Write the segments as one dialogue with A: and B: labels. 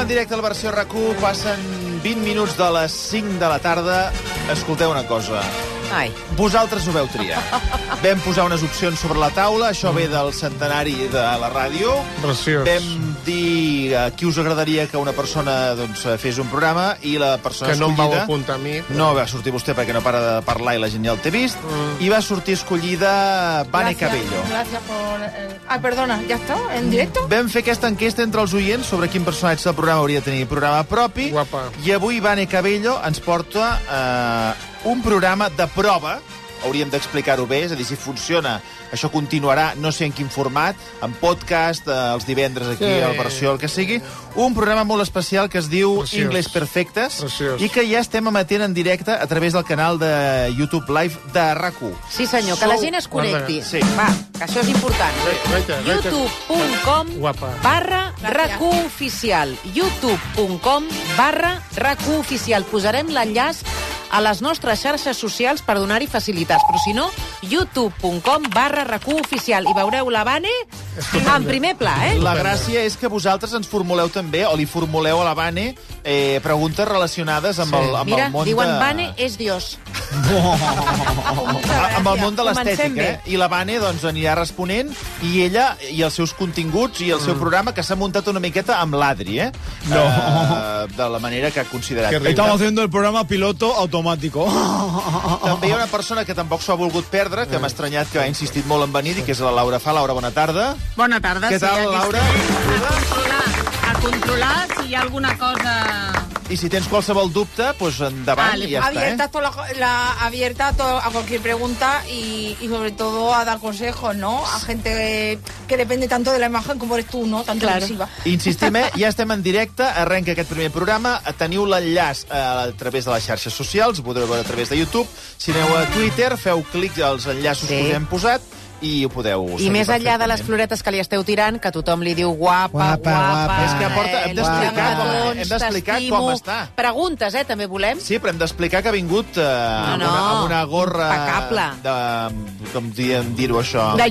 A: en directe a la versió rac passen 20 minuts de les 5 de la tarda. Escolteu una cosa.
B: Ai.
A: Vosaltres ho veu triar. Vam posar unes opcions sobre la taula, això ve del centenari de la ràdio.
C: Preciós.
A: Vam dir a qui us agradaria que una persona doncs, fes un programa i la persona
C: Que no em vau
A: escollida-
C: apuntar a mi.
A: No va sortir vostè perquè no para de parlar i la gent ja el té vist.
C: Mm.
A: I va sortir escollida Vane
D: Gracias,
A: Cabello.
D: Gracias por... eh, ah, perdona, ¿ya está? ¿En directo?
A: Vam fer aquesta enquesta entre els oients sobre quin personatge del programa hauria de tenir programa propi.
C: Guapa.
A: I avui Vane Cabello ens porta eh, un programa de prova hauríem d'explicar-ho bé, és a dir, si funciona, això continuarà, no sé en quin format, en podcast, eh, els divendres aquí,
C: Sí.
A: a la versió, el que sigui, un programa molt especial que es diu
C: Preciós.
A: Ingles Perfectes,
C: Preciós.
A: i que ja estem emetent en directe a través del canal de YouTube Live de RAC1.
B: Sí, senyor, que la
A: Sou-
B: gent es connecti.
A: Sí.
B: Va, que això és important.
C: Guaita, guaita.
B: youtube.com
C: Guapa.
B: barra racó oficial. youtube.com barra racó oficial. Posarem l'enllaç a les nostres xarxes socials per donar-hi facilitats. Però si no, youtube.com barra racó oficial. I veureu la Vane en primer pla, eh?
A: La gràcia és que vosaltres ens formuleu també, o li formuleu a la Vane, eh, preguntes relacionades amb,
C: Sí.
A: el, amb
B: Mira,
A: el món
B: diuen
A: de...
B: Vane és Dios.
A: A- amb el món de
B: Comencem
A: l'estètica,
B: bé.
A: eh? I la Vane doncs, anirà responent, i ella i els seus continguts i el seu programa, que s'ha muntat una miqueta amb l'Adri, eh? No. Uh, de la manera que ha considerat.
C: Que riu.
A: I tam-
E: haciendo el programa piloto automático.
A: També hi ha una persona que tampoc s'ho ha volgut perdre, que m'ha estranyat que ha insistit molt en venir, i que és la Laura Fa. Laura, bona tarda.
F: Bona tarda.
A: Què tal,
F: aquí
A: Laura?
F: estem. A controlar, a controlar si hi ha alguna cosa...
A: I si tens qualsevol dubte, doncs endavant
F: Vale.
A: i ja
D: pues
A: està,
D: abierta,
A: eh?
D: a toda la, la- abierta a, todo- a cualquier pregunta y, y sobre todo a dar consejos, ¿no? A gente que, que depende tanto de la imagen como eres tú, ¿no? Tan
B: Claro.
D: televisiva.
A: eh? Insistim, eh? Ja estem en directe, arrenca aquest primer programa, teniu l'enllaç eh, a través de les xarxes socials, ho podreu veure a través de YouTube, si aneu a Twitter, feu clic als enllaços
B: Sí.
A: que us hem posat i ho podeu
B: I
A: seguir
B: més enllà de les
A: perfectament.
B: floretes que li esteu tirant, que tothom li diu guapa, guapa...
E: Guapa,
B: guapa
E: guapa.
A: És que porta- hem
B: eh,
A: d'explicar
B: guapa,
A: com-
B: doncs,
A: hem d'explicar com
B: t'estimo.
A: està.
B: Preguntes, eh, també volem.
A: Sí, però hem d'explicar que ha vingut eh, amb,
B: no.
A: una, amb una gorra...
B: Impecable.
A: De, com diem dir-ho, això?
F: De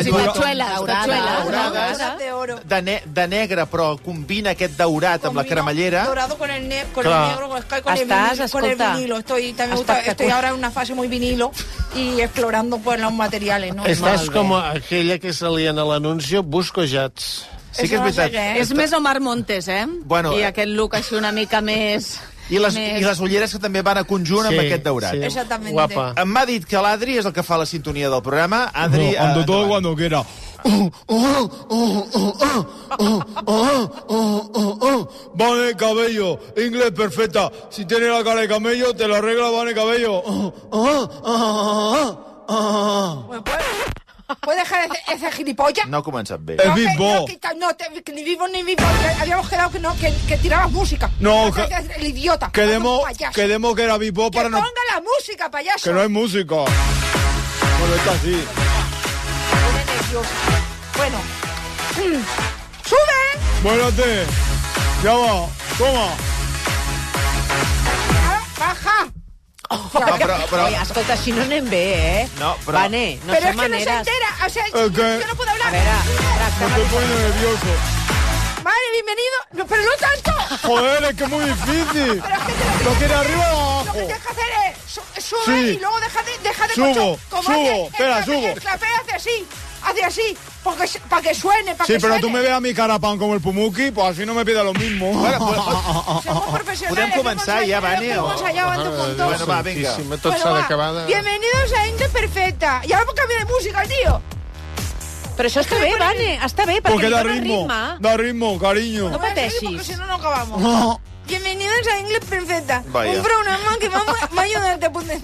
A: De
F: i
A: lluentons.
F: patxueles.
B: Daurada,
D: Pues
F: patxueles.
A: daurada.
B: Daurades.
D: de oro.
A: De, ne de negre, però combina aquest daurat amb la
D: Combino
A: cremallera.
D: Dorado con el, ne- con
A: Claro.
D: el negro, con el, sky, con,
B: Estás,
D: el vinilo, con el
B: escolta,
D: vinilo. Estoy, también me gusta,
B: espectacular.
D: estoy ahora en una fase muy vinilo y explorando pues, los materiales, ¿no?
C: Estàs
B: Molt bé.
C: com aquella que salien a l'anuncio Busco Jets.
A: Sí que és
D: Això no sé
A: veritat.
D: què
F: És més Omar Montes, eh?
A: Bueno,
F: I
A: eh.
F: aquest look així una mica més...
A: I les,
F: més...
A: I les ulleres que també van a conjunt amb aquest daurat.
D: sí. Exactamente.
C: Guapa.
A: Em m'ha dit que l'Adri és el que fa la sintonia del programa. Adri,
E: cuando
A: eh,
E: todo
A: endavant.
E: cuando quiera. Vane Cabello, inglés perfecta. Si tienes la cara de camello, te la arregla Vane Cabello.
D: Pues, pues, ¿Puedes dejar ese, ese gilipollas?
A: No ha començat bé.
E: Eh,
D: que-
E: vivo.
D: no, que- No, te- que ni vivo ni vivo. que Habíamos quedado que no, que, que tirabas música.
E: No, que-
D: que, el idiota.
E: Quedemos,
D: otro payaso.
E: quedemos que era Bipo
D: Que
E: para no.
D: ponga la música, payaso.
E: Que no hay música. Bueno, está así.
D: Pone nervioso. Bueno. Mm. ¡Sube!
E: Muérate. Ya va. Toma.
D: Ah, ¡Baja!
A: No, però, però,
B: Oi, escolta, així no anem bé, eh?
A: No, però-
B: Vane, no
D: Pero es que
B: són
D: no se
B: maneres.
D: entera. O sea,
E: Eh,
D: yo,
E: que-
D: yo no puedo
B: A ah,
D: hablar.
B: veure, tracta'm...
E: Te pone nervioso.
D: Madre, bienvenido. No, pero no tanto.
E: Joder, es que es muy difícil.
D: Pero es que te lo
E: Lo quiere arriba o
D: Lo que
E: abajo.
D: tienes que hacer es su- sube
E: Sí.
D: y luego deja de, deja de
E: Subo,
D: cocho-
E: subo,
D: hace el
E: espera,
D: clape-
E: subo.
D: El clapeo hace así, hace así, porque, se- para que suene, para
E: Sí,
D: que
E: pero
D: suene.
E: tú me veas mi carapán como el Pumuki, pues así no me pida lo mismo.
A: bueno,
B: pues,
A: bueno,
D: Somos profesionales.
A: Podem començar
D: hemos
A: ja,
D: ensayado,
A: Vane,
D: hemos
A: o-
D: ensayado antes un montón.
A: Bueno, va, vinga.
C: Santíssima, Tot
D: Eh, Bueno,
C: s'ha
D: Pues va,
C: d'acabar de...
D: Bienvenidos a Gente Perfecta. Y ahora cambio de música, tío.
B: Però això està bé, Vane, està bé, perquè
E: Porque
B: li
E: da
B: dona
E: ritmo,
B: ritme.
E: da ritmo, cariño.
B: No
D: Voy a seguir
B: pateixis.
D: Porque si no, no acabamos. Bienvenidos a Inglés Perfecta.
A: Vaya.
D: Un programa que va, va a ayudarte a poten-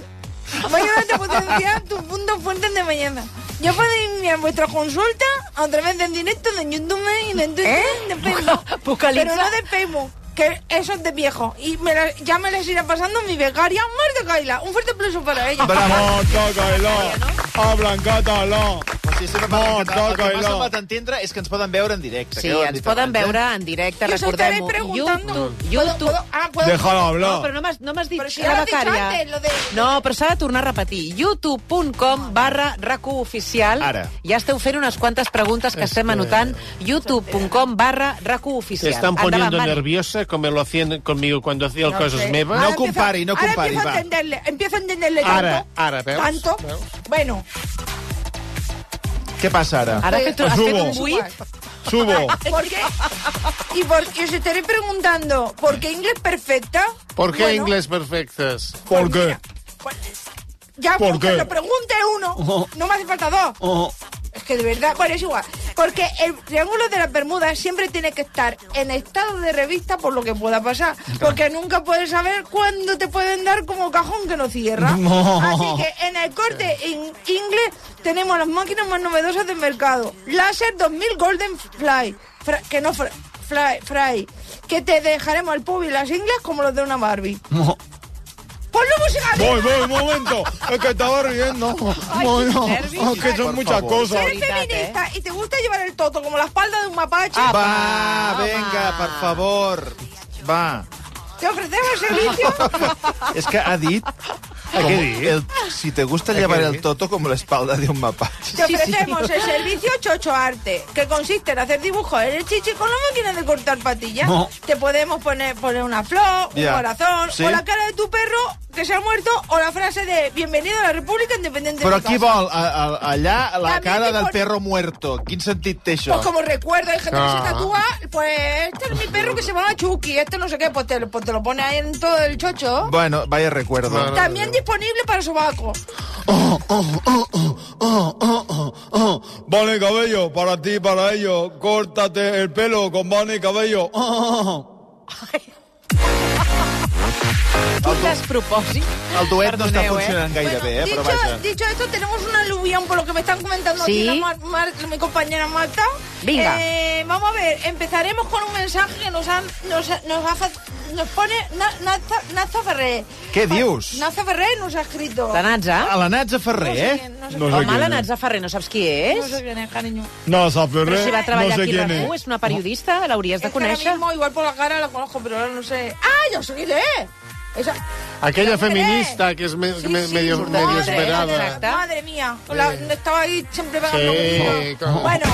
D: va a ayudarte a potenciar tus puntos fuertes de mañana. Yo podéis enviar vuestra consulta a través del directo de YouTube y de Twitter y de Facebook.
B: Vocaliza.
D: Pero no de Facebook, que eso es de viejo. Y me la- ya me las irá pasando mi becaria Marta Kaila. Un fuerte aplauso para ella.
E: Bravo, tócalo, habla en catalán.
A: sí, sí, no,
E: No,
A: el que
E: toca,
A: m'ha
E: no.
A: semblat entendre és que ens poden veure en directe.
B: Sí,
A: que ja ho hem
B: ens
A: dit
B: poden
A: abans, eh?
B: veure en directe,
D: Yo saltaré
B: recordem-ho.
D: preguntando.
B: YouTube,
D: ¿Puedo-
B: YouTube.
D: puedo- Ah, puedo.
E: Déjalo hablar.
B: No, però no m'has no m'has dit
D: Però això
B: la
D: ja l'ha dit
B: becària.
D: antes, eh, lo de-
B: No, però s'ha de tornar a repetir. youtube.com barra RAC1 oficial.
A: Ara.
B: Ja esteu fent unes quantes preguntes que estem anotant. youtube.com barra RAC1
C: Te
B: oficial.
C: están poniendo
B: Mari.
C: nerviosa como lo hacían conmigo cuando hacía
D: No
C: cosas
D: sé.
C: mevas.
A: No
D: Ahora empiezo-
A: compari, no
D: ahora
A: compari,
D: empiezo
A: va.
D: a entenderle, empiezo a entenderle
C: Ara,
D: tanto.
C: ara, veus?
D: Tanto.
C: Veus?
D: Bueno, eh,
A: Què passa ara?
B: Ara has fet, has fet un
E: Subo.
B: buit?
E: Subo.
D: ¿por qué? Y, por, y os estaré preguntando, ¿por qué inglés perfecta?
C: ¿Por qué
D: Bueno,
C: inglés perfectas?
E: ¿Por qué?
D: mira, pues, ya,
E: ¿Por
D: porque
E: qué?
D: lo pregunte uno, no me hace falta dos. Es que de verdad, bueno, es igual. Porque el triángulo de las Bermudas siempre tiene que estar en estado de revista por lo que pueda pasar. Porque nunca puedes saber cuándo te pueden dar como cajón que no cierra. Así que en el corte in- inglés tenemos las máquinas más novedosas del mercado. Láser 2000 Golden Fly. Fra- que no, fra- fly, fry. Que te dejaremos al pub y las ingles como los de una Barbie. Pues ¡Ponlo música! de-
E: Voy, voy, un momento. Es que estaba riendo. Bueno, es que son muchas
D: Si
E: cosas.
D: eres feminista y te gusta llevar el toto como la espalda de un mapache,
A: Ah, Va, venga, per favor. Va.
D: te ofrecemos servicio.
A: És que ha dit...
C: què
A: com
C: dic?
A: El, si te gusta llevar el toto com l'espalda de un mapache.
D: Te ofrecemos el servicio Chocho Arte, que consiste en hacer dibujos en el chichi con la máquina de cortar patillas. Te podemos poner, poner una flor, un
A: Ya.
D: corazón,
A: Sí.
D: o la cara de tu perro que se ha muerto, o la frase de Bienvenido a la República Independiente
A: Però
D: de mi
A: qui
D: casa".
A: vol a, a, allà la
D: També
A: cara
D: t'hi
A: del
D: pon-
A: perro muerto? Quin sentit té això?
D: Pues como recuerdo, hay gente
A: Ah.
D: que se tatúa, pues este es mi perro que se llama Chucky, este no sé qué, pues te, lo- pues te lo pone ahí en todo el chocho.
A: Bueno, vaya recuerdo.
C: Bueno.
D: También disponible para sobaco.
E: Vane Cabello, para ti, para ellos. Córtate el pelo con Vane Cabello.
B: Oh. Quin despropòsit.
A: El duet no està
B: Perdoneu, eh?
A: funcionant gaire bé, eh?
D: dicho,
A: Però vaja.
D: dicho esto, tenemos un aluvión por lo que me están comentando
B: Sí.
D: aquí la Mar- Mar- mi compañera Marta.
B: Venga.
D: Eh, vamos a ver, empezaremos con un mensaje que nos han, nos, nos, ha fa- nos pone Na- Naza, Naza Ferrer.
A: Què dius?
D: Naza Ferrer nos ha escrito.
B: La Natza?
A: A la Natza
D: No
A: Ferrer,
D: sé
A: eh?
D: quién, no sé
E: No sé
B: Home,
E: quién
B: la
E: es.
B: Natza Ferrer, no saps qui
D: quién, no
B: és?
D: sé quién es, cariño.
E: No, Zaferré,
B: Però si va
E: no
B: treballar
E: sé
B: aquí a
E: quién
B: RAC1,
E: es.
B: és una periodista, l'hauries de
D: Es que ahora
B: conèixer.
D: mismo, igual por la cara la conozco, pero ahora no sé. ¡Ah, yo soy de! Esa...
C: Aquella
D: Esa mujer es.
C: feminista que es me-
D: Sí, eh,
C: me-
D: sí,
C: medio,
D: madre,
C: medio
D: madre,
C: esperada.
B: exacte.
D: Madre mía, la- estaba ahí siempre pegando
C: Sí,
D: conmigo.
C: como-
D: Bueno,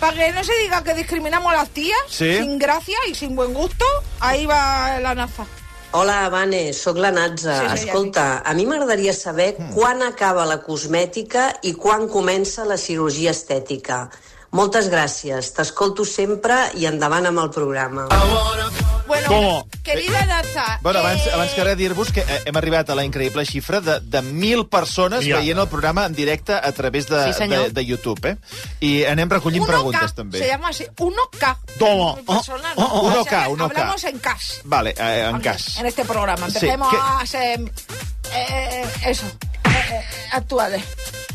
D: para que no se diga que discriminamos a las tías,
A: Sí.
D: sin gracia y sin buen gusto, ahí va la naza.
G: Hola, Vane, sóc la Natza.
D: Sí, sí, ja
G: Sí, sí, Escolta, a mi m'agradaria saber mm. quan acaba la cosmètica i quan comença la cirurgia estètica. Moltes gràcies, t'escolto sempre i endavant amb el programa.
D: Bueno,
E: ¿Cómo?
D: querida naza.
A: Bueno, abans,
D: eh,
A: abans que res dir-vos que eh, hem arribat a la increïble xifra de, de mil persones
C: Ja.
A: veient el programa en directe a través de,
B: Sí,
A: de,
B: senyor.
A: de YouTube, eh? I anem recollint
D: 1K,
A: preguntes, també.
D: Se llama así, 1K.
A: Toma.
D: Muy personal,
A: Oh, oh, oh.
D: ¿no? O
A: 1K,
D: sea,
A: 1K.
D: Hablamos en cash.
A: Vale, eh, en cas.
D: En este programa.
A: Sí,
D: Empecemos
A: que-
D: a ser... eh, eh, eso. eh, eh, actuales.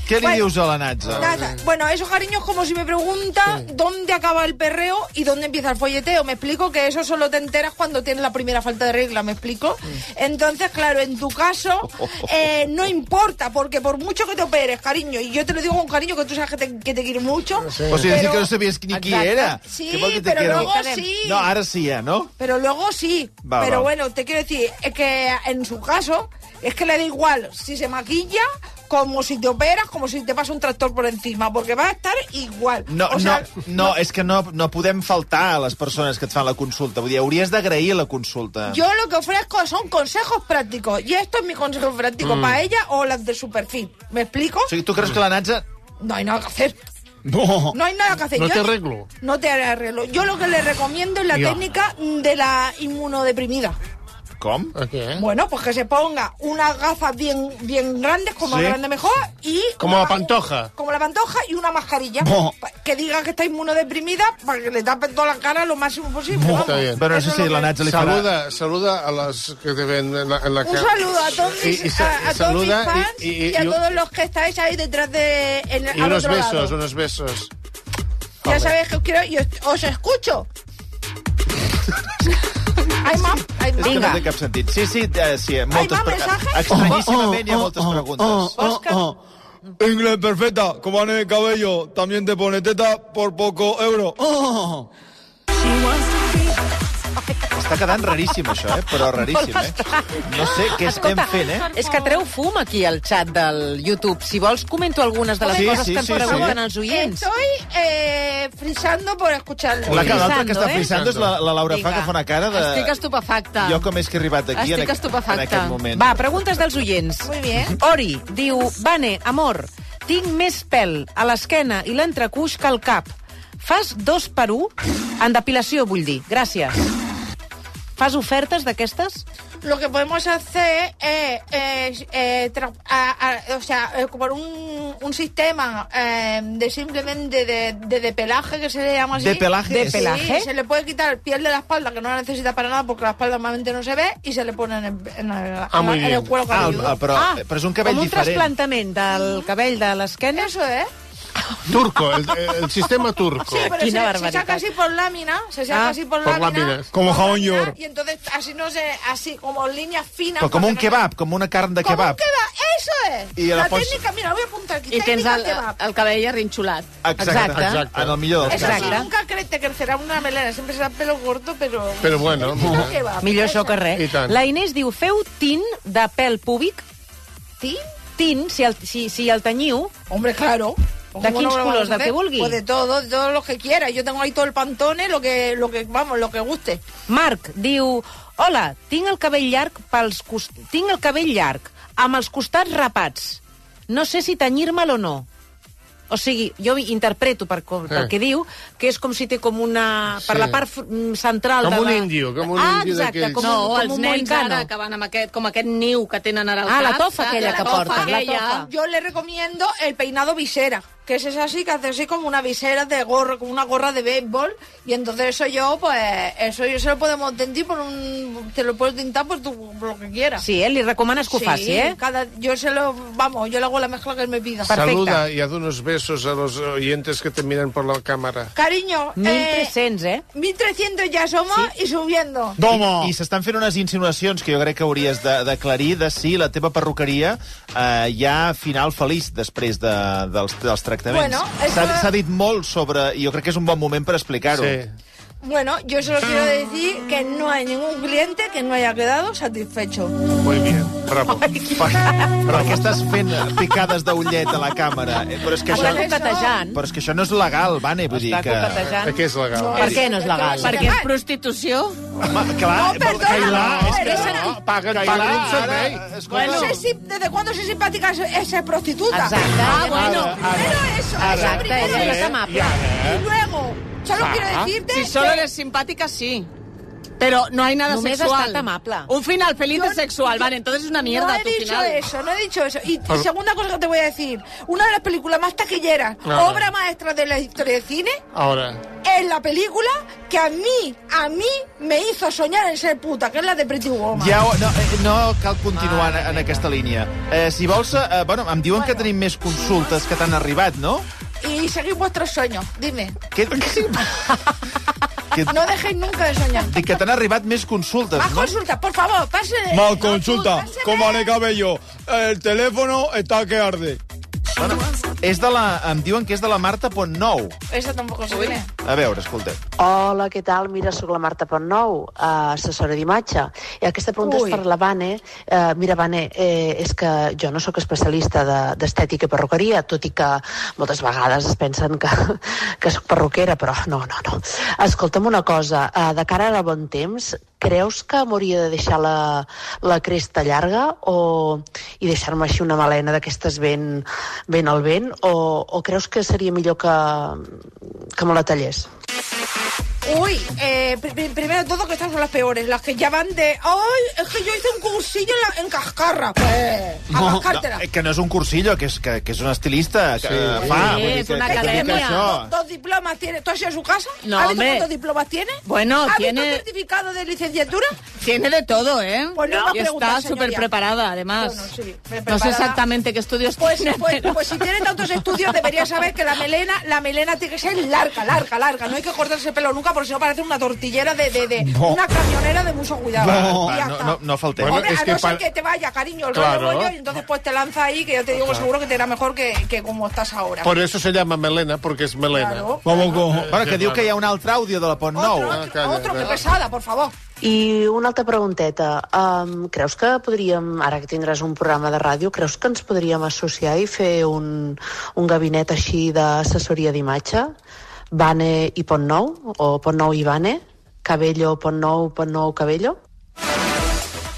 A: Què li
D: Bueno.
A: dius a la Natza?
D: Nada. Bueno, eso, cariño, es como si me pregunta dónde acaba el perreo y dónde empieza el folleteo. Me explico que eso solo te enteras cuando tienes la primera falta de regla, ¿me explico? Entonces, claro, en tu caso, eh, no importa, porque por mucho que te operes, cariño, y yo te lo digo con cariño, que tú sabes que te, que te quiero mucho.
A: O sigui,
D: però-
A: Pues sí que no sabies qui, ni qui
B: Exacte.
A: era.
D: Sí,
A: Què vol dir te
D: però
A: quiero?
D: luego sí.
A: No, ara sí, ja, no?
D: Pero luego sí.
A: Va,
D: pero
A: va.
D: bueno, te quiero decir es que en su caso es que le da igual si se maquilla, como si te operas, como si te pasa un tractor por encima, porque va a estar igual.
A: No,
D: O sea,
A: no, no, és que no, no podem faltar a les persones que et fan la consulta. Vull dir, hauries d'agrair la consulta.
D: Yo lo que ofrezco son consejos prácticos. Y esto es mi consejo práctico
C: Mm.
D: para ella o las de su perfil. ¿Me explico?
A: O sigui, tu creus que la Natza...
D: No hay nada que hacer.
C: No.
D: No hay nada que hacer.
C: No
D: Yo
C: te arreglo.
D: No te arreglo. Yo lo que le recomiendo es la
C: Ya.
D: técnica de la inmunodeprimida.
A: Com?
C: ¿A qué?
D: Bueno, pues que se ponga unas gafas bien, bien grandes, como
A: Sí.
D: más grande mejor, y...
C: Como
D: una
C: la
D: ma-
C: pantoja.
D: Como la pantoja y una mascarilla. Pa- Que diga que está inmunodeprimida para que le tapen toda la cara lo máximo posible.
C: Está
D: vamos.
C: bien.
A: Bueno,
D: Eso
A: això
D: es
A: sí,
D: lo que-
A: la Natza li farà...
C: Saluda, saluda a las que te ven en la, en la
D: Un
C: ca-
D: saludo a todos,
C: Y- y
D: mis,
C: sa-
D: a, a todos mis
C: saluda
D: fans
C: y-
D: y,
C: y-
D: a
C: y un-
D: todos los que estáis ahí detrás de... En,
C: Y
D: al
C: unos
D: otro
C: besos,
D: lado.
C: unos besos.
D: Ya sabéis que os quiero y os, os escucho. Ay, mam,
A: És
D: ay, mam.
A: que no
B: Vinga.
A: té cap sentit. Sí, sí, eh, sí moltes
D: va,
A: pre-
D: mensajes?
C: Oh,
A: Estranyíssimament hi ha moltes preguntes.
B: Vols que...
E: Inglés perfecta, como Anne de Cabello, también te pone teta por poco euro.
C: oh.
A: Està quedant raríssim, això, eh? Però raríssim, eh? No sé què estem
B: Escolta,
A: fent, eh?
B: És que treu fum aquí al xat del YouTube. Si vols, comento algunes de les
A: Sí,
B: coses
A: sí,
B: que ens
A: sí,
B: pregunten
A: sí.
B: els oients.
D: Estoy eh, frisando por escucharlo.
A: La que l'altra que està
B: eh?
A: frisant és la, la Laura Fa,
B: Vinga.
A: que fa una cara de...
F: Estic estupefacta.
A: Jo com és que he arribat aquí en,
F: Estic
A: aqu-
F: estupefacta.
A: en aquest moment.
B: Ah. Va, preguntes dels oients.
D: Muy bien.
B: Ori diu, Vane, amor, tinc més pèl a l'esquena i l'entrecuix que al cap. Fas dos per un? En depilació, vull dir. Gràcies. Fas ofertes d'aquestes?
D: Lo que podemos hacer es, es, eh, tra- a- a- o sea, eh, como un, un sistema eh, de simplemente de, de, depelaje, que se le llama así.
A: De pelaje.
B: De
A: és-
B: pelaje.
D: Sí, se le puede quitar piel de la espalda, que no la necesita para nada porque la espalda normalmente no se ve, y se le pone en el, en el- en
C: muy
D: el- en el
C: bien.
D: cuero
A: Ah, el,
D: cabelludo.
A: el, però,
B: ah,
A: però és un cabell
B: com un
A: diferent.
B: trasplantament del cabell de l'esquena?
D: Eso es.
C: Turco, el, el sistema turco.
D: Sí, pero
B: Quina
D: se, se
B: barbaridad.
D: saca así por lámina, se saca
B: Ah,
D: así por,
C: por
D: lámina.
C: láminas.
E: Como
D: por
E: jamón
D: lámina,
E: york.
D: Y entonces así no sé, así como líneas finas.
A: Però com
D: para
A: Pues un
D: que no-
A: kebab, com una carn de
D: Como un
A: kebab.
D: kebab, eso es.
A: Y la
D: la
A: pots-
D: técnica, mira, voy a apuntar aquí.
F: I tens
D: técnica
F: el,
D: kebab.
F: el cabell arrinxolat.
B: Exacte.
C: Exacte.
A: En el millor dels
D: Eso
A: casos.
D: sí,
B: Exacte.
D: nunca cre- te crecerá una melena, siempre será pelo corto, pero...
C: Pero bueno.
D: Técnica kebab,
B: Millor això
D: esa.
B: que
C: I
B: res.
C: tant.
B: La Inés diu, feu tint de pèl púbic?
D: ¿Sí?
B: Tint, si el, si, si el tenyiu,
D: Hombre, claro.
B: ¿De
D: ¿Cómo no
B: quins
D: lo vamos
B: colors?
D: a
B: ¿Del
D: hacer?
B: que vulgui?
D: Pues de todo, de todos los que quiera. Yo tengo ahí todo el pantone, lo que, lo que vamos, lo que guste.
B: Marc diu... Hola, tinc el cabell llarg pels cost... tinc el cabell llarg amb els costats rapats. No sé si tenyir-me'l o no. O sigui, jo interpreto per, com, pel
C: Eh.
B: que diu que és com si té com una... per
C: Sí.
B: la part fr- mm, central
C: Com
B: de
C: un
B: la...
C: índio, com un
B: ah,
C: índio
B: exacte,
C: d'aquells.
B: com,
F: no,
B: un, com
F: els
B: un
F: nens
B: moicano.
F: ara que van amb aquest, com aquest niu que tenen ara al
B: Ah,
F: cap.
B: la tofa
F: saps?
B: aquella
F: La
B: que
F: tofa
B: portes, la
F: aquella.
B: tofa.
D: Yo le recomiendo el peinado visera, que es esa así, que hace así como una visera de gorro, como una gorra de béisbol. Y entonces eso yo, pues, eso yo se lo podemos tintar por un... Te lo puedes tintar por, tu, por lo que quieras.
B: Sí, eh? li recomanes que ho faci, eh?
D: Cada, yo se lo... Vamos, yo le hago la mezcla que él me pida.
B: Perfecte.
C: Saluda y haz unos besos a los oyentes que te miran por la cámara.
D: Cariño, eh,
B: 1.300, eh?
D: 1300 ya somos y subiendo.
A: I, i s'estan fent unes insinuacions que jo crec que hauries de- d'aclarir de, si la teva perruqueria eh, hi ha final feliç després de, dels, dels tractaments.
D: Bueno,
A: S'ha
D: eso-
A: s'ha dit molt sobre... I jo crec que és un bon moment per explicar-ho.
C: Sí.
D: Bueno, yo solo quiero decir que no hay ningún cliente que no haya quedado satisfecho.
C: Muy bien, bravo.
A: Però què estàs fent picades d'ullet a la càmera? Eh, Però és que
B: Està
A: això...
B: coquetejant.
A: Però és que això no és legal, Vane, vull dir
B: Està
A: que...
B: coquetejant.
C: Aquí és legal.
B: Per què no és legal?
F: Perquè és prostitució.
A: Home, clar,
D: No, Oh, perdona, no, eh,
A: és que...
D: perdona.
A: No, paguen,
C: Cailà,
A: paguen un
C: ara,
A: servei. Escolta,
D: No sé si, desde cuándo soy simpática es, es prostituta.
B: Exacte.
F: Ah, bueno.
D: Primero eso, eso
B: Exacte,
D: primero
B: ella
D: eso.
B: no és amable.
D: Y luego, solo quiero decirte
F: Si solo
D: que
F: eres simpática, sí. Pero no hay nada
B: Només
F: sexual.
B: ha estat amable.
F: Un final feliz
D: Yo-
F: de sexual. Vale, entonces es una mierda
D: no he
F: tu
D: dicho
F: final.
D: eso, no he dicho eso. Y, y segunda cosa que te voy a decir, una de las películas más taquilleras,
C: Claro.
D: obra maestra de la historia del cine,
C: Ahora,
D: es la película que a mí, a mí me hizo soñar en ser puta, que es la de Pretty Woman.
A: Ja, ho- no, eh, no cal continuar en, en aquesta línia. Eh, si vols, eh, bueno, em diuen que
D: Bueno.
A: tenim més consultes que t'han arribat, no?
D: Y seguid vuestros sueños, dime.
A: Que, que, sí. que,
D: No dejéis nunca de soñar.
A: dic que t'han arribat més consultes,
D: Más
A: no?
D: consultas, por favor, pásenle.
E: Mal consulta,
D: Pásenle.
E: como Anne de Cabello, el teléfono está que arde.
A: Bueno, és de la, em diuen que és de la Marta Pont Nou.
D: Eso tampoco se viene.
A: A veure, escolteu.
H: Hola, què tal? Mira, sóc la Marta Pont-Nou, eh, assessora d'imatge. I aquesta pregunta
D: Ui.
H: és per la Vane. Eh, mira, Vane, eh, és que jo no sóc especialista de- d'estètica de, i perruqueria, tot i que moltes vegades es pensen que, que sóc perruquera, però no, no, no. Escolta'm una cosa, eh, de cara al bon temps, creus que m'hauria de deixar la, la cresta llarga o, i deixar-me així una melena d'aquestes ben, ben al vent o, o creus que seria millor que, que me la tallés?
D: Uy, eh, pri- pri- primero de todo que estas son las peores, las que ya van de... ¡Ay, es que yo hice un cursillo en, la- en Cascarra! Pues, a cascártela.
A: eh, que no és un cursillo, que és, que, que és un estilista. Que, sí, fa, vull
F: Sí,
A: dir
F: és
A: que-
F: una
A: que es dedica a
F: acadèmia.
A: això.
D: Dos, dos diplomas tiene. ¿Tú has ido a su casa?
F: No,
D: ¿Has visto
F: hombre.
D: cuántos diplomas tiene?
F: Bueno,
D: ¿Has
F: tiene-
D: visto el certificado de licenciatura?
F: Tiene de todo, ¿eh?
D: Pues no me
F: y
D: ha preguntado,
F: está
D: señoría.
F: súper preparada, además.
D: Bueno, sí,
F: no
D: preparada.
F: sé exactamente qué estudios
D: Pues,
F: tiene,
D: pues,
F: pero-
D: pues si tiene tantos estudios debería saber que la melena, la melena tiene que ser larga, larga, larga. No hay que cortarse el pelo nunca porque si no parece una tortillera de, de, de- una camionera de mucho cuidado.
A: No, Ah,
D: Y ya
A: no,
D: está.
A: no, no faltemos.
D: Hombre,
C: Bueno, es
D: a
C: que
D: no ser
C: para-
D: que te vaya, cariño, el
C: Claro.
D: rollo bollo, y entonces pues te lanza ahí que yo te digo que seguro que te irá mejor que, que como estás ahora.
A: Pues,
C: Por eso se llama melena, porque es melena.
D: Claro.
E: Vamos con...
A: Bueno, que diu que hi ha un altre àudio de la Pont Nou.
D: Otro,
C: Ah,
D: otro,
C: calla,
D: otro, que
C: calla.
D: pesada, por favor.
H: I una altra pregunteta. Um, creus que podríem, ara que tindràs un programa de ràdio, creus que ens podríem associar i fer un, un gabinet així d'assessoria d'imatge? Bane i Pont Nou? O Pont Nou i Bane? Cabello, Pont Nou, Pont Nou, Cabello?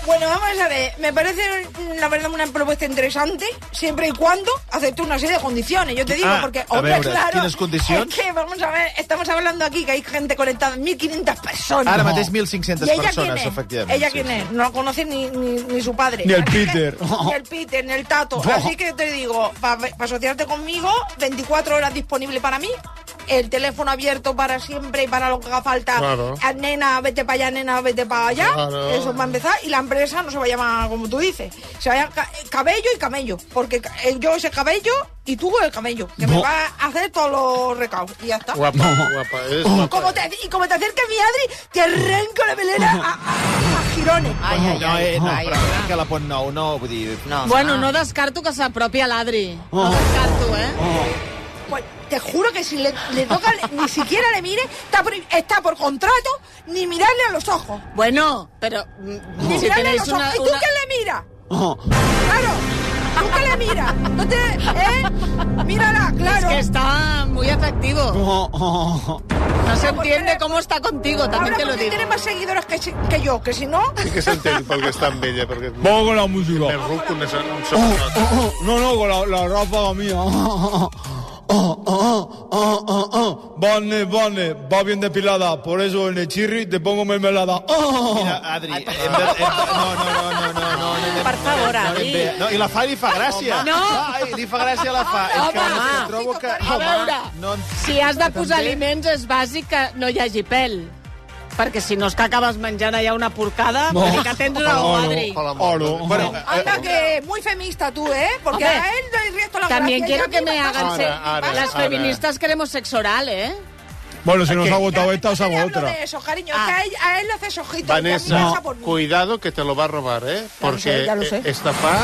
D: Bueno, vamos a ver, me parece la verdad una propuesta interesante, siempre y cuando acepte una serie de condiciones, yo te digo,
A: Ah,
D: porque,
A: a
D: hombre,
A: veure,
D: claro,
A: quines condicions?
D: es que vamos a ver, estamos hablando aquí que hay gente conectada, 1.500 personas.
A: Ara mateix 1.500
D: ¿Y ella
A: persones,
D: quién es?
A: efectivament.
D: ¿Ella
A: sí,
D: quién
A: sí.
D: es? No conoce ni, ni, ni su padre.
E: Ni el
D: Así que-
E: Peter.
D: Ni el Peter, ni el Tato. Así que te digo, para asociarte conmigo, 24 horas disponible para mí, el teléfono abierto para siempre y para lo que haga falta.
C: Claro.
D: Ah, Nena, vete para allá, nena, vete para allá.
C: Claro.
D: Eso para empezar. Y la empresa no se va a llamar como tú dices. Se va a llamar ca- cabello y camello. Porque ca- eh, yo ese cabello y tú el camello. Que me va a hacer todos los recados. Y ya está.
C: Guapa, guapa. És
D: Y
C: guapa.
D: como te, y como te acerques, mi Adri, te arranco la melena a, a- a girones.
B: Ai, ai,
A: No,
B: ai.
A: eh, no,
B: ai,
A: però crec que la Pont Nou no, vull dir...
B: no,
F: Bueno,
B: ah.
F: no descarto que s'apropi a l'Adri. No descarto, eh?
D: Pues te juro que si le, le toca, ni siquiera le mire, está por, está por contrato, ni mirarle a los ojos.
F: Bueno, pero mm,
D: Ni
F: si
D: mirarle a
F: tenéis
D: los
F: una...
D: ojos. ¿Y tú
F: una-
D: qué le miras? Claro. ¿Tú qué le miras? No te... ¿Eh? Mírala,
F: Es
D: claro.
F: que está muy atractivo. No se
D: ¿Por qué
F: entiende
D: le-
F: cómo está contigo, también
D: Ahora
F: te lo
D: porque
F: digo.
D: tiene más seguidores que, si- que yo, que si no...
C: Sí que s'entén pel que està amb ella, perquè
D: Oh.
C: és molt
E: Vamos con la música.
C: més ruc que un, un sobrenot.
E: No, no, con la, la ráfaga mía. Oh, oh, oh, oh, oh, oh. Vane, Vane, va bien depilada. Por eso en el chirri te pongo mermelada. Oh.
A: Mira, Eh, Adri, hem de, hem de, no, no, no, no, no, no, no, anem-
B: Per favor,
A: no, anem
B: Adri.
A: bé. no, I la fa, li fa gràcia.
F: No.
A: Ai, li fa gràcia la fa. és que,
F: Home.
A: és que trobo que...
F: A veure,
A: no, en-
F: si has de posar
A: També.
F: aliments és bàsic que no hi hagi pèl. Perquè si no és que acabes menjant allà una porcada, no. que tens raó, Adri.
D: Oh.
C: Oro.
A: Bueno,
C: Eh,
D: Anda que muy feminista tú, ¿eh? Porque
F: Hombre,
D: a él no hay riesgo la
F: También
D: gracia,
F: quiero
D: ella
F: que me
D: misma
F: hagan
D: pasa-
F: ser...
C: Ara, ara,
F: Las
C: ara.
F: feministas queremos sexo oral, ¿eh?
E: Bueno, si nos ha
D: Ya,
E: agotado esta, os
D: ya te
E: hago
D: hablo
E: otra.
D: de eso, cariño.
F: Ah.
D: Que a él, a él le haces ojitos. y a mí me
C: Vanessa,
D: pasa por mí.
C: cuidado que te lo va a robar, ¿eh? Porque
D: ya lo sé.
C: estafar...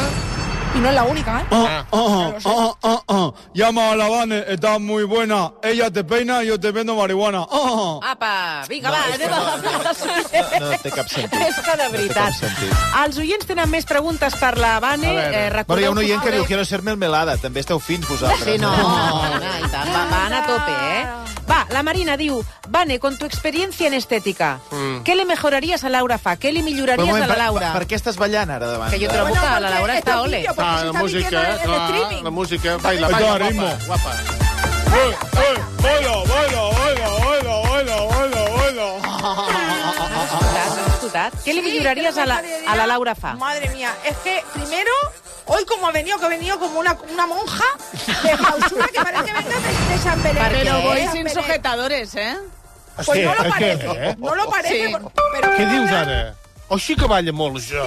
D: Y no es la única, ¿eh?
C: Ah.
E: Oh, oh, oh, oh, oh. Llama a la Vane, está muy buena. Ella te peina y yo te vendo marihuana. Oh.
B: Apa, vinga, va, anem a la
A: no, no té cap sentit.
B: És que de
A: No té
B: veritat.
A: cap sentit.
B: Els oients tenen més preguntes per la Vane. Eh,
A: Bueno, hi ha un oient que diu
B: que...
A: quiero ser melmelada. També esteu fins vosaltres. eh?
B: Sí, no, no, i tant, va, va anar a tope, eh? Va, la Marina diu, Vane, con tu experiencia en estética, ¿qué le mejorarías a Laura Fa? ¿Qué le
A: Però un
B: milloraries
A: moment,
B: a la
A: per-
B: Laura?
A: Mm. Per, per què estàs ballant ara davant?
B: Que jo trobo
D: Bueno,
B: que la
D: porque
B: Laura
D: está
B: està ole.
D: pillo, porque
C: Ah,
D: se
C: la
D: está
C: música,
D: midiendo el
C: clar,
D: streaming.
C: la música, baila,
E: Ai,
C: baila,
E: ritmo.
C: guapa, guapa.
E: Eh,
C: Ah,
E: eh, baila, baila, baila, baila, baila, baila, baila.
B: Has escoltat, has escoltat. Què li
D: Sí,
B: milloraries
D: creo
B: a la,
D: que
B: a la
D: podría-
B: Laura Fa?
D: Madre mía, es que primero, hoy como ha venido, que ha venido como una, una monja de clausura que parece que venga de, de San Belén.
B: Pero
D: Eh,
B: voy
F: Voy
D: San
F: sin
D: Belén.
F: sujetadores, ¿eh?
D: Pues no
C: Hòstia,
D: lo
C: eh, què,
D: parece,
C: eh?
D: no lo parece.
F: Sí.
D: por- Pero
C: Què dius ara? O sí que balla molt, jo.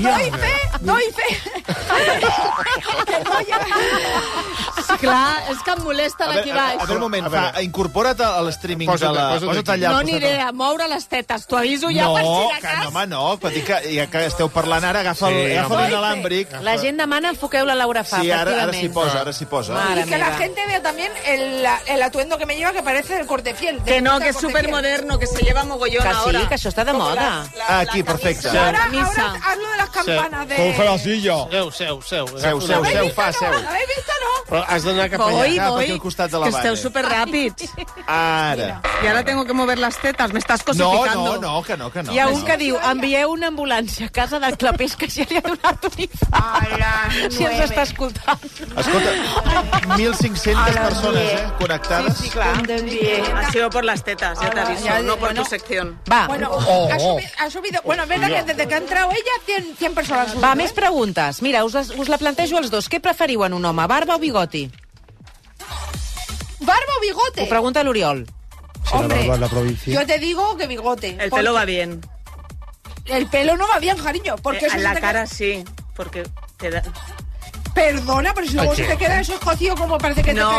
D: Doy fe, doy fe. que no llega.
F: Sí, clar, és que em molesten aquí
A: A
F: baix.
A: veure, un moment,
C: A veure.
A: fa, incorpora't a l'streaming de
C: Posa't-
A: la...
C: posa't
A: Posa't
C: aquí.
A: allà.
F: No
A: posa't-
F: aniré a moure les tetes, t'ho aviso ja
A: No,
F: per si de
A: que
F: cas.
A: no, home, no. Però dic que, ja que esteu parlant ara, agafa
C: Sí,
A: sí,
C: home.
A: l'inalàmbric.
B: La gent demana enfoqueu la Laura Fa,
A: Sí, ara, ara s'hi
B: efectivament.
A: posa, ara s'hi posa.
B: Mare
D: Y que la
B: meva.
D: gente vea también el, el atuendo que me lleva, que parece el corte fiel.
F: Que no, que es súper moderno, que se lleva mogollón
B: Que
F: ahora.
B: sí, que això està de moda.
A: Ah, aquí, perfecte.
D: Ahora,
F: Misa.
D: ahora hazlo de las campanas de...
E: Coge la silla.
C: Seu, seu, seu.
A: Seu, seu,
D: ¿Habéis
A: seu,
D: visto,
A: fa,
D: no?
A: seu.
D: ¿Habéis visto, no?
C: Però has d'anar cap allà.
A: Oi.
F: Voy,
A: cap
F: voy.
A: aquí al costat de la
F: que esteu
A: Vane.
F: superràpids.
A: Ara.
F: I ara tengo que mover les tetes, me estás
A: No,
F: cosificando.
A: no, no, que no, que no.
B: Hi ha
A: que
B: un
A: no.
B: que diu, envieu una ambulància a casa del clapés que ja li ha donat un infart. Si ens està escoltant.
A: Escolta, 1.500 persones eh, connectades. Sí, sí, clar.
F: Ha sido por las tetas, ya te aviso, no por tu sección.
B: Va,
D: Bueno, ha, subi- ha subido... Bueno, es verdad que desde que ha entrado ella, 100, 100 personas han
B: va,
D: subido,
B: més
D: ¿eh?
B: preguntes. Mira, us, les- us la plantejo als dos. Què preferiu en un home, barba o bigoti?
D: ¿Barba o
B: Ho
D: bigote?
B: pregunta l'Oriol.
D: Hombre, yo te digo que bigote.
F: El
D: Porque-
F: pelo va bien.
D: El pelo no va bien, cariño. Porque
F: Eh,
D: eso
F: en
D: se
F: la
D: te
F: cara sí, porque te da...
D: queda- Perdona, pero si luego se te queda eso escocido como parece que,
F: No.
D: te,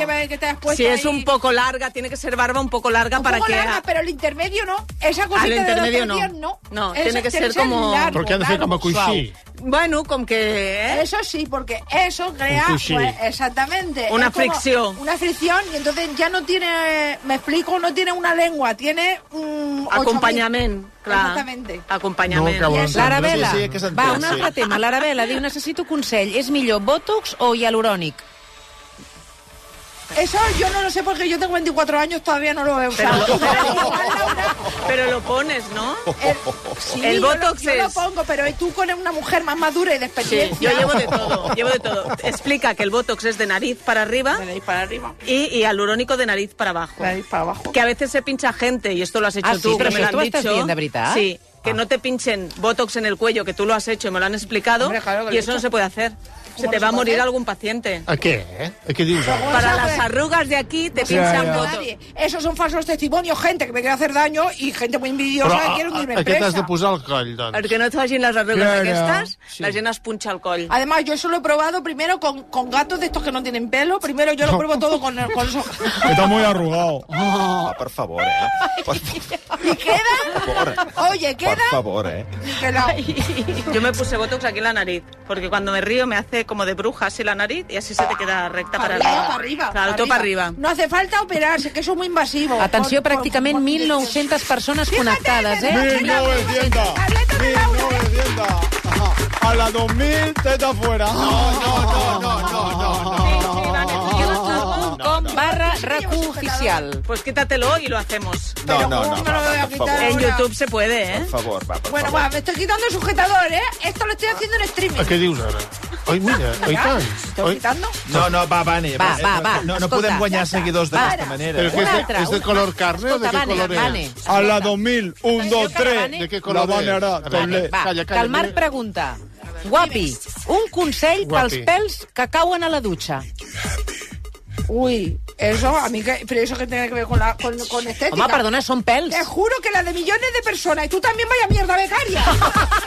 D: que, que- que- que te has puesto
F: Si es
D: ahí.
F: un poco larga, tiene que ser barba un poco larga
D: Un
F: para
D: poco
F: que...
D: larga, pero el intermedio no. Esa cosita
F: Al
D: de
F: intermedio
D: los
F: no.
D: tres días, no.
F: No,
D: Eso
F: tiene que ser como-
D: largo,
C: Però què han de fer
D: largo,
C: com a coixí?
D: suau.
F: Bueno, com que... Eh?
D: Eso sí, porque eso crea
C: cuchillo.
D: pues, exactamente
F: Una
D: es como
F: fricción.
D: Una fricción y entonces ya no tiene, me explico, no tiene una lengua, tiene un
F: Acompanyament, clar.
D: Exactamente.
C: No
F: Acompanyament.
C: acabo
D: I és-
C: d'entendre.
B: L'Arabela.
A: Sí, sí, que s'entén,
B: Va, un
A: sí.
B: altre tema. L'Arabela diu, necessito consell. És millor bòtox o hialurònic?
D: Eso yo no lo sé porque yo tengo 24 años, todavía no lo he
F: Pero,
D: usado.
F: pero lo pones, ¿no?
D: El, sí,
F: El
D: yo lo-
F: Botox
D: yo lo
F: es-
D: pongo, pero tú con una mujer más madura y de
F: Sí,
D: experiencia.
F: yo llevo de todo, llevo de todo. Explica que el botox es de nariz para arriba
D: De ahí para arriba,
F: y, y alurónico de nariz para abajo.
D: de ahí para abajo.
F: Que a veces se pincha gente, y esto lo has hecho
B: Ah,
F: tú,
B: sí, pero
F: que me
B: eso
F: lo han
B: tú estás
F: dicho.
B: bien, Ah. de verdad.
F: Sí, que no te pinchen botox en el cuello, que tú lo has hecho y me lo han explicado,
D: Hombre, claro que lo
F: y
D: he
F: eso no
D: hecho.
F: se puede hacer. Se
D: ¿Cómo
F: te
D: no
F: va a
D: se puede
F: morir
D: hacer? Ah.
F: algún paciente.
C: A què, eh? A què dius ara?
F: Para
D: se
F: las
D: puede.
F: arrugas de aquí te
D: No,
F: pinchan
D: no,
F: botox.
D: pues- nadie. Esos son falsos testimonios, gente que me quiere hacer daño y gente muy envidiosa que quiere hundirme
C: a, a què
D: presa.
C: t'has de posar al coll, doncs?
F: Perquè no et facin les arrugues
E: Claro,
F: aquestes,
E: sí.
F: la gent es punxa el coll.
D: Además, yo eso lo he probado primero con, con gatos de estos que no tienen pelo. Primero yo lo pruebo todo con, con los ojos.
E: Que está muy arrugado.
A: Ah, per favor, eh? Per,
D: Y queda. Oye,
A: per
D: queda.
A: favor, eh?
D: que la-
F: Yo me puse botox aquí en la nariz, porque cuando me río me hace como de bruja así la nariz y así se te queda recta
D: Para
F: para,
D: arriba,
F: arriba.
D: para arriba.
F: Claro, todo para arriba.
D: No hace falta operarse, que eso es muy invasivo.
B: Atenció,
D: Por- por-
B: pràcticament
D: por-
B: 1.900 persones
D: Fíjate,
B: connectades,
D: que-
B: eh?
E: 1900.
D: Tableta de Laura, ¿eh?
E: 1900. Ajá. A la 2000 teta afuera. No, no, no, no, no, no.
B: youtube.com barra RAC1 oficial.
F: Pues quítatelo y lo hacemos.
A: No, no,
D: ¿cómo
A: no,
D: me lo
A: va,
D: voy a
A: va, per
D: quitar?
A: favor.
F: En
D: Ahora.
F: YouTube se puede,
A: Per
F: ¿eh?
A: favor, va, per
D: Bueno,
A: favor.
D: va, me estoy quitando el sujetador, ¿eh? Esto lo estoy haciendo en streaming.
C: A què dius ara? Oi, mira, oi
D: Ya,
C: tant.
D: ¿Estoy
C: Oi,
D: quitando?
A: No, no, va, Vane.
B: Va,
A: eh,
B: va, va,
A: No, no
B: escolta,
A: podem
B: ja
A: guanyar
B: està.
A: seguidors
B: Va.
A: d'aquesta manera.
C: Però
A: eh?
C: què és,
B: Un
C: de,
B: altre,
C: és de
B: un
C: color carne o de què
B: Vane,
C: color
B: Vane.
C: és?
E: A la 2000, 1, 2, 3.
C: De què
E: La
C: color
E: Vane
C: és?
E: ara,
B: Vale,
E: doble.
B: va,
C: Calla,
B: que
C: calla,
B: el Marc
C: mira.
B: pregunta. Guapi, un consell
C: Guapi.
B: pels pèls que cauen a la dutxa.
D: Uy, eso, a mí que, pero eso que tiene que ver con la con, con estética.
B: Home, perdona, són pèls.
D: Te juro que la de millones de personas y tú también vaya mierda becaria.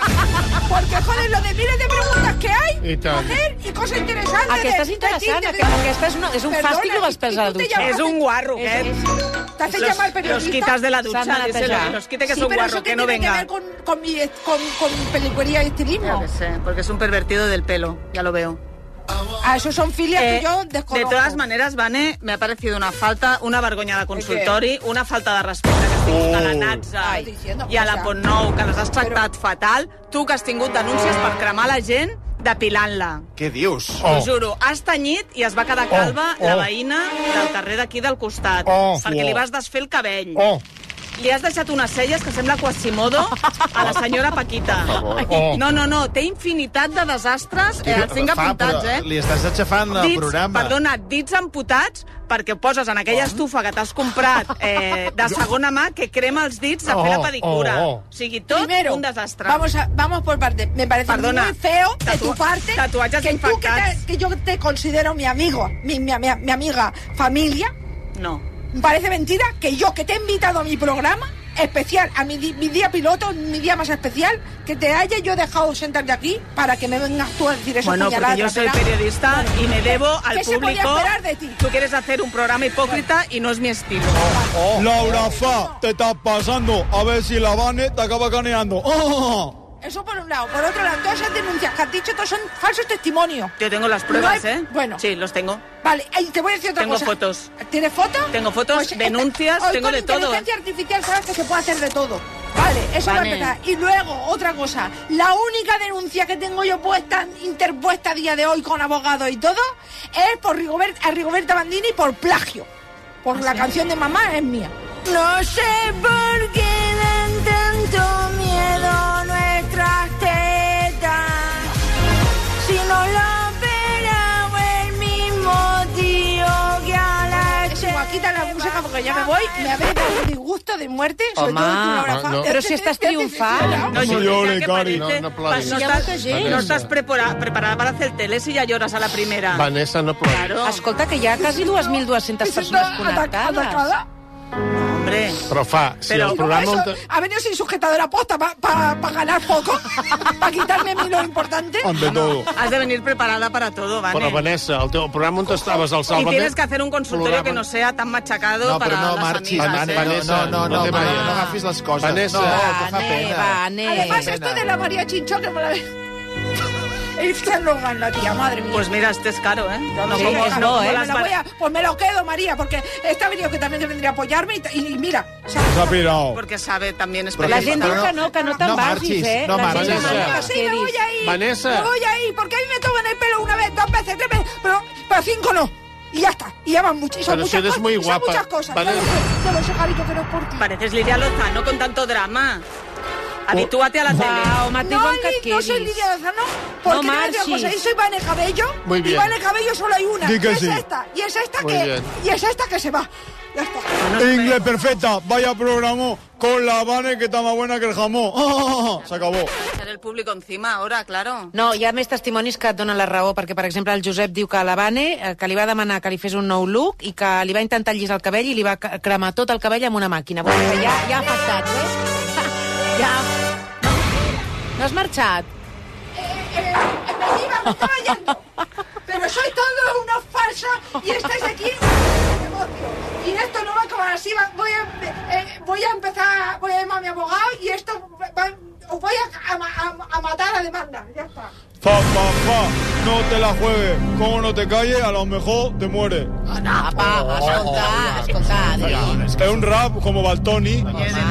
D: Porque joder, lo de miles de preguntas que hay,
C: Y tal.
D: mujer, y cosas interesantes.
B: Aquesta és interessant, aquesta, aquesta és, una, és un
D: Perdona,
B: fàstic, lo dels pèls a la
D: i tu te
B: dutxa.
D: llamas-
F: Es un guarro,
B: És-
F: que
B: és-
D: Te haces
F: los,
D: llamar
F: los
D: periodista.
F: quitas de la
B: Se han
F: ducha, díselo,
B: atallado.
F: que los quite que
D: sí,
F: es un
D: pero
F: guarro,
D: eso
F: que
D: que
F: no
D: tiene que
F: venga.
D: ver con, con, mi, con, con pelicuería y
F: Yo
D: estilismo.
F: qué sé, porque es un pervertido del pelo, ya lo veo.
D: Ah, eso son filias
F: Eh,
D: que yo
F: de
D: desconozco.
F: todas maneras, Vane, me ha parecido una falta, una vergonyada consultori, una falta de respecte que has tingut
C: Oh.
F: a la Natza
D: Ai, Ah, diciendo
F: i a la
D: cosa.
F: Pontnou, que les has tractat fatal. Tu, que has tingut denúncies per cremar la gent depilant-la.
A: Què dius?
F: T'ho
C: Oh.
F: juro, has tenyit i es va quedar calva
C: Oh,
F: la
C: oh.
F: veïna del carrer d'aquí del costat,
C: Oh,
F: perquè
C: oh.
F: li vas desfer el cabell.
C: Oh,
F: Li has deixat unes celles que sembla Quasimodo a la senyora Paquita.
C: oh.
F: No, no, no, té infinitat de desastres, eh, els tinc
A: Fa,
F: apuntats,
A: però
F: eh?
A: Li estàs aixafant el
F: dits,
A: programa.
F: perdona, dits amputats perquè ho poses en aquella estufa que t'has comprat eh, de segona mà que crema els dits de fer la
C: Oh,
F: pedicura.
C: oh, oh.
F: O sigui, tot
D: Primero,
F: un desastre.
D: Vamos, a- vamos por partes. Me parece
F: Perdona,
D: muy feo de
F: tatua-
D: tu parte
F: tatuatges
D: que, tú que,
F: infectats.
D: te- que yo te considero mi amigo, mi, mi, mi- mi amiga, familia.
F: No.
D: Me parece mentira que yo, que te he invitado a mi programa especial, a mi, di- mi día piloto, mi día más especial, que te haya yo dejado sentarte aquí para que me vengas tú a decir eso.
F: Bueno,
D: puñalada
F: porque yo
D: tras
F: soy
D: otra.
F: periodista y me debo al
D: ¿Qué se podía
F: público.
D: esperar de ti?
F: Tú quieres hacer un programa hipócrita y no es mi estilo.
C: Ah.
E: Laura Fa, te estás pasando. A ver si la Vane te acaba caneando. Oh.
D: Eso por un lado. Por otro lado, todas esas denuncias que has dicho, todos son falsos testimonios.
F: Yo tengo las pruebas,
D: No hay-
F: ¿eh?
D: bueno.
F: Sí, los tengo.
D: Vale, y te voy a decir otra
F: Tengo
D: cosa.
F: fotos.
D: ¿Tienes fotos?
F: Tengo fotos, denuncias,
D: hoy
F: tengo
D: con
F: de todo.
D: inteligencia artificial sabes que se puede hacer de todo. Vale, eso va a
F: Vale.
D: empezar. Y luego, otra cosa. La única denuncia que tengo yo puesta, interpuesta a día de hoy con abogado y todo, es por Rigobert, a Rigoberta Bandini por plagio. Por la canción de mamá es mía. No sé por qué dan tanto miedo nuestras tetas. Si no lo verá el mismo tío que a la chica. Quita Eh, la música porque ya me voy. Me habéis dado un disgusto de muerte. Sobre
B: Home,
D: todo tu Laura Fa.
C: no.
B: Però si estàs triomfant.
E: No llores, Cari.
F: No,
C: No, no ploris.
F: no,
C: Si hi ha
F: estás,
C: molta gent.
F: no estás prepara- preparada para hacer tele si ya lloras a la primera.
C: Vanessa, no ploris.
F: Claro.
B: Escolta, que hi ha quasi 2.200 persones
D: Atacada,
B: connectades.
D: atacada.
F: Hombre,
C: Però fa, si
F: Però-
C: el
D: Por
C: programa...
D: eso
C: On...
D: ha venido sin sujetador aposta para ganar poco, para quitarme mi lo importante.
E: Ante todo.
F: has de venir preparada para todo, Vane.
C: Bueno, Vanessa, el teu programa on estaves al
F: y
C: Sálvame...
F: tienes que hacer un consultorio que no sea tan machacado
A: No,
F: para
A: però no
F: las
A: marxis,
F: amigas.
A: Vane,
F: ¿eh?
A: Vane, no, no, no,
C: No te
A: Vane,
C: vayas.
A: no agafis les coses.
C: Vanessa.
A: No,
B: Ah,
A: que fa
B: Vane,
A: pena.
B: Vane.
D: Además,
A: pena.
D: esto de la María Chinchón, que me la... El San Logan, la tía, madre mía.
F: Pues mira, este es caro, ¿eh? No,
B: Sí,
F: como-
B: es no,
F: no,
D: me
F: como
B: ¿eh?
D: la
F: las bar-
D: voy a- pues me lo quedo, María, porque esta ha venido que también vendría a apoyarme y, y mira, o sea,
C: Pues
E: Se ha pirado.
F: Porque sabe también es
A: Però
B: La
A: que-
B: gent
A: però
B: diu que no, que no te'n
A: no
B: vagis,
A: marxis,
B: eh?
A: No
B: La gent
A: marxis.
C: demana
A: Vanessa.
B: que
D: sí, me voy ahí.
C: Vanessa.
D: Me voy ahí, porque a mí me toman el pelo una vez, dos veces, tres veces, pero, pero cinco no. Y ya está. Y ya van mucho, y son
C: Pero si
D: muchas
C: eres
D: cosas.
C: muy
D: y son
C: guapa,
D: muchas cosas.
C: ¿vale?
D: Yo lo sé, yo lo sé, Javi, que no es por ti.
F: Pareces Lidia Lozano con tanto drama. Habitúate a la tele.
B: Va, home, té
D: No,
B: bon que et
D: Liz, no soy
B: quedis.
D: Lidia Lozano, porque
B: No
D: no una cosa,
B: marches.
D: yo soy Vane Cabello,
C: Muy
D: y
C: bien.
D: Vane Cabello solo hay una,
E: Di que
D: y es
E: sí.
D: esta, y es esta
C: Muy
D: que,
C: bien.
D: y es esta que se va. Ya está.
E: Inglés perfecta, vaya programa con la Vane que está más buena que el jamón. Ah, Se acabó.
F: Estar el público encima ahora, claro.
B: No, hi ha més testimonis que et donen la raó, perquè, per exemple, el Josep diu que a la Vane, eh, que li va demanar que li fes un nou look i que li va intentar llisar el cabell i li va ca- cremar tot el cabell amb una màquina. Vull dir que ja, ja ha afectat, eh? ja. No, no has marxat?
D: Eh, me iba, me estaba yendo. Pero soy todo una farsa y estáis aquí de negocio. Y esto no va a acabar así. va- Voy a, eh, voy a empezar, voy a llamar a mi abogado y esto va- os voy a, a ma- a- a matar a demanda. Ya está.
E: Fa, fa, fa. No te la juegues. Como no te calles, a lo mejor te mueres.
B: Apa, escolta, escolta.
E: Es un rap como Baltoni.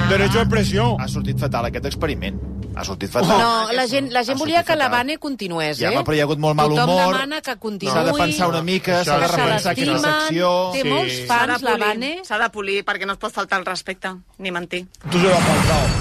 E: Derecho a expresión.
A: Ha sortit fatal aquest experiment. Ha sortit fatal.
B: No, la gent, la gent
A: Ha
B: volia
A: sortit
B: que la
A: Oh. fatal.
B: Vane continués,
A: Ja,
B: eh?
A: home, però hi ha hagut molt mal
B: Tothom
A: humor.
B: demana que continuï.
A: S'ha de pensar una mica, s'ha de
B: que se
A: repensar aquesta
B: l'estimen,
A: secció.
B: Té
C: Sí.
B: molts
F: S'ha de
B: fans, la
F: polir,
B: Vane.
F: S'ha de polir perquè no es pot faltar el respecte, ni mentir.
E: Tú se lo has faltado.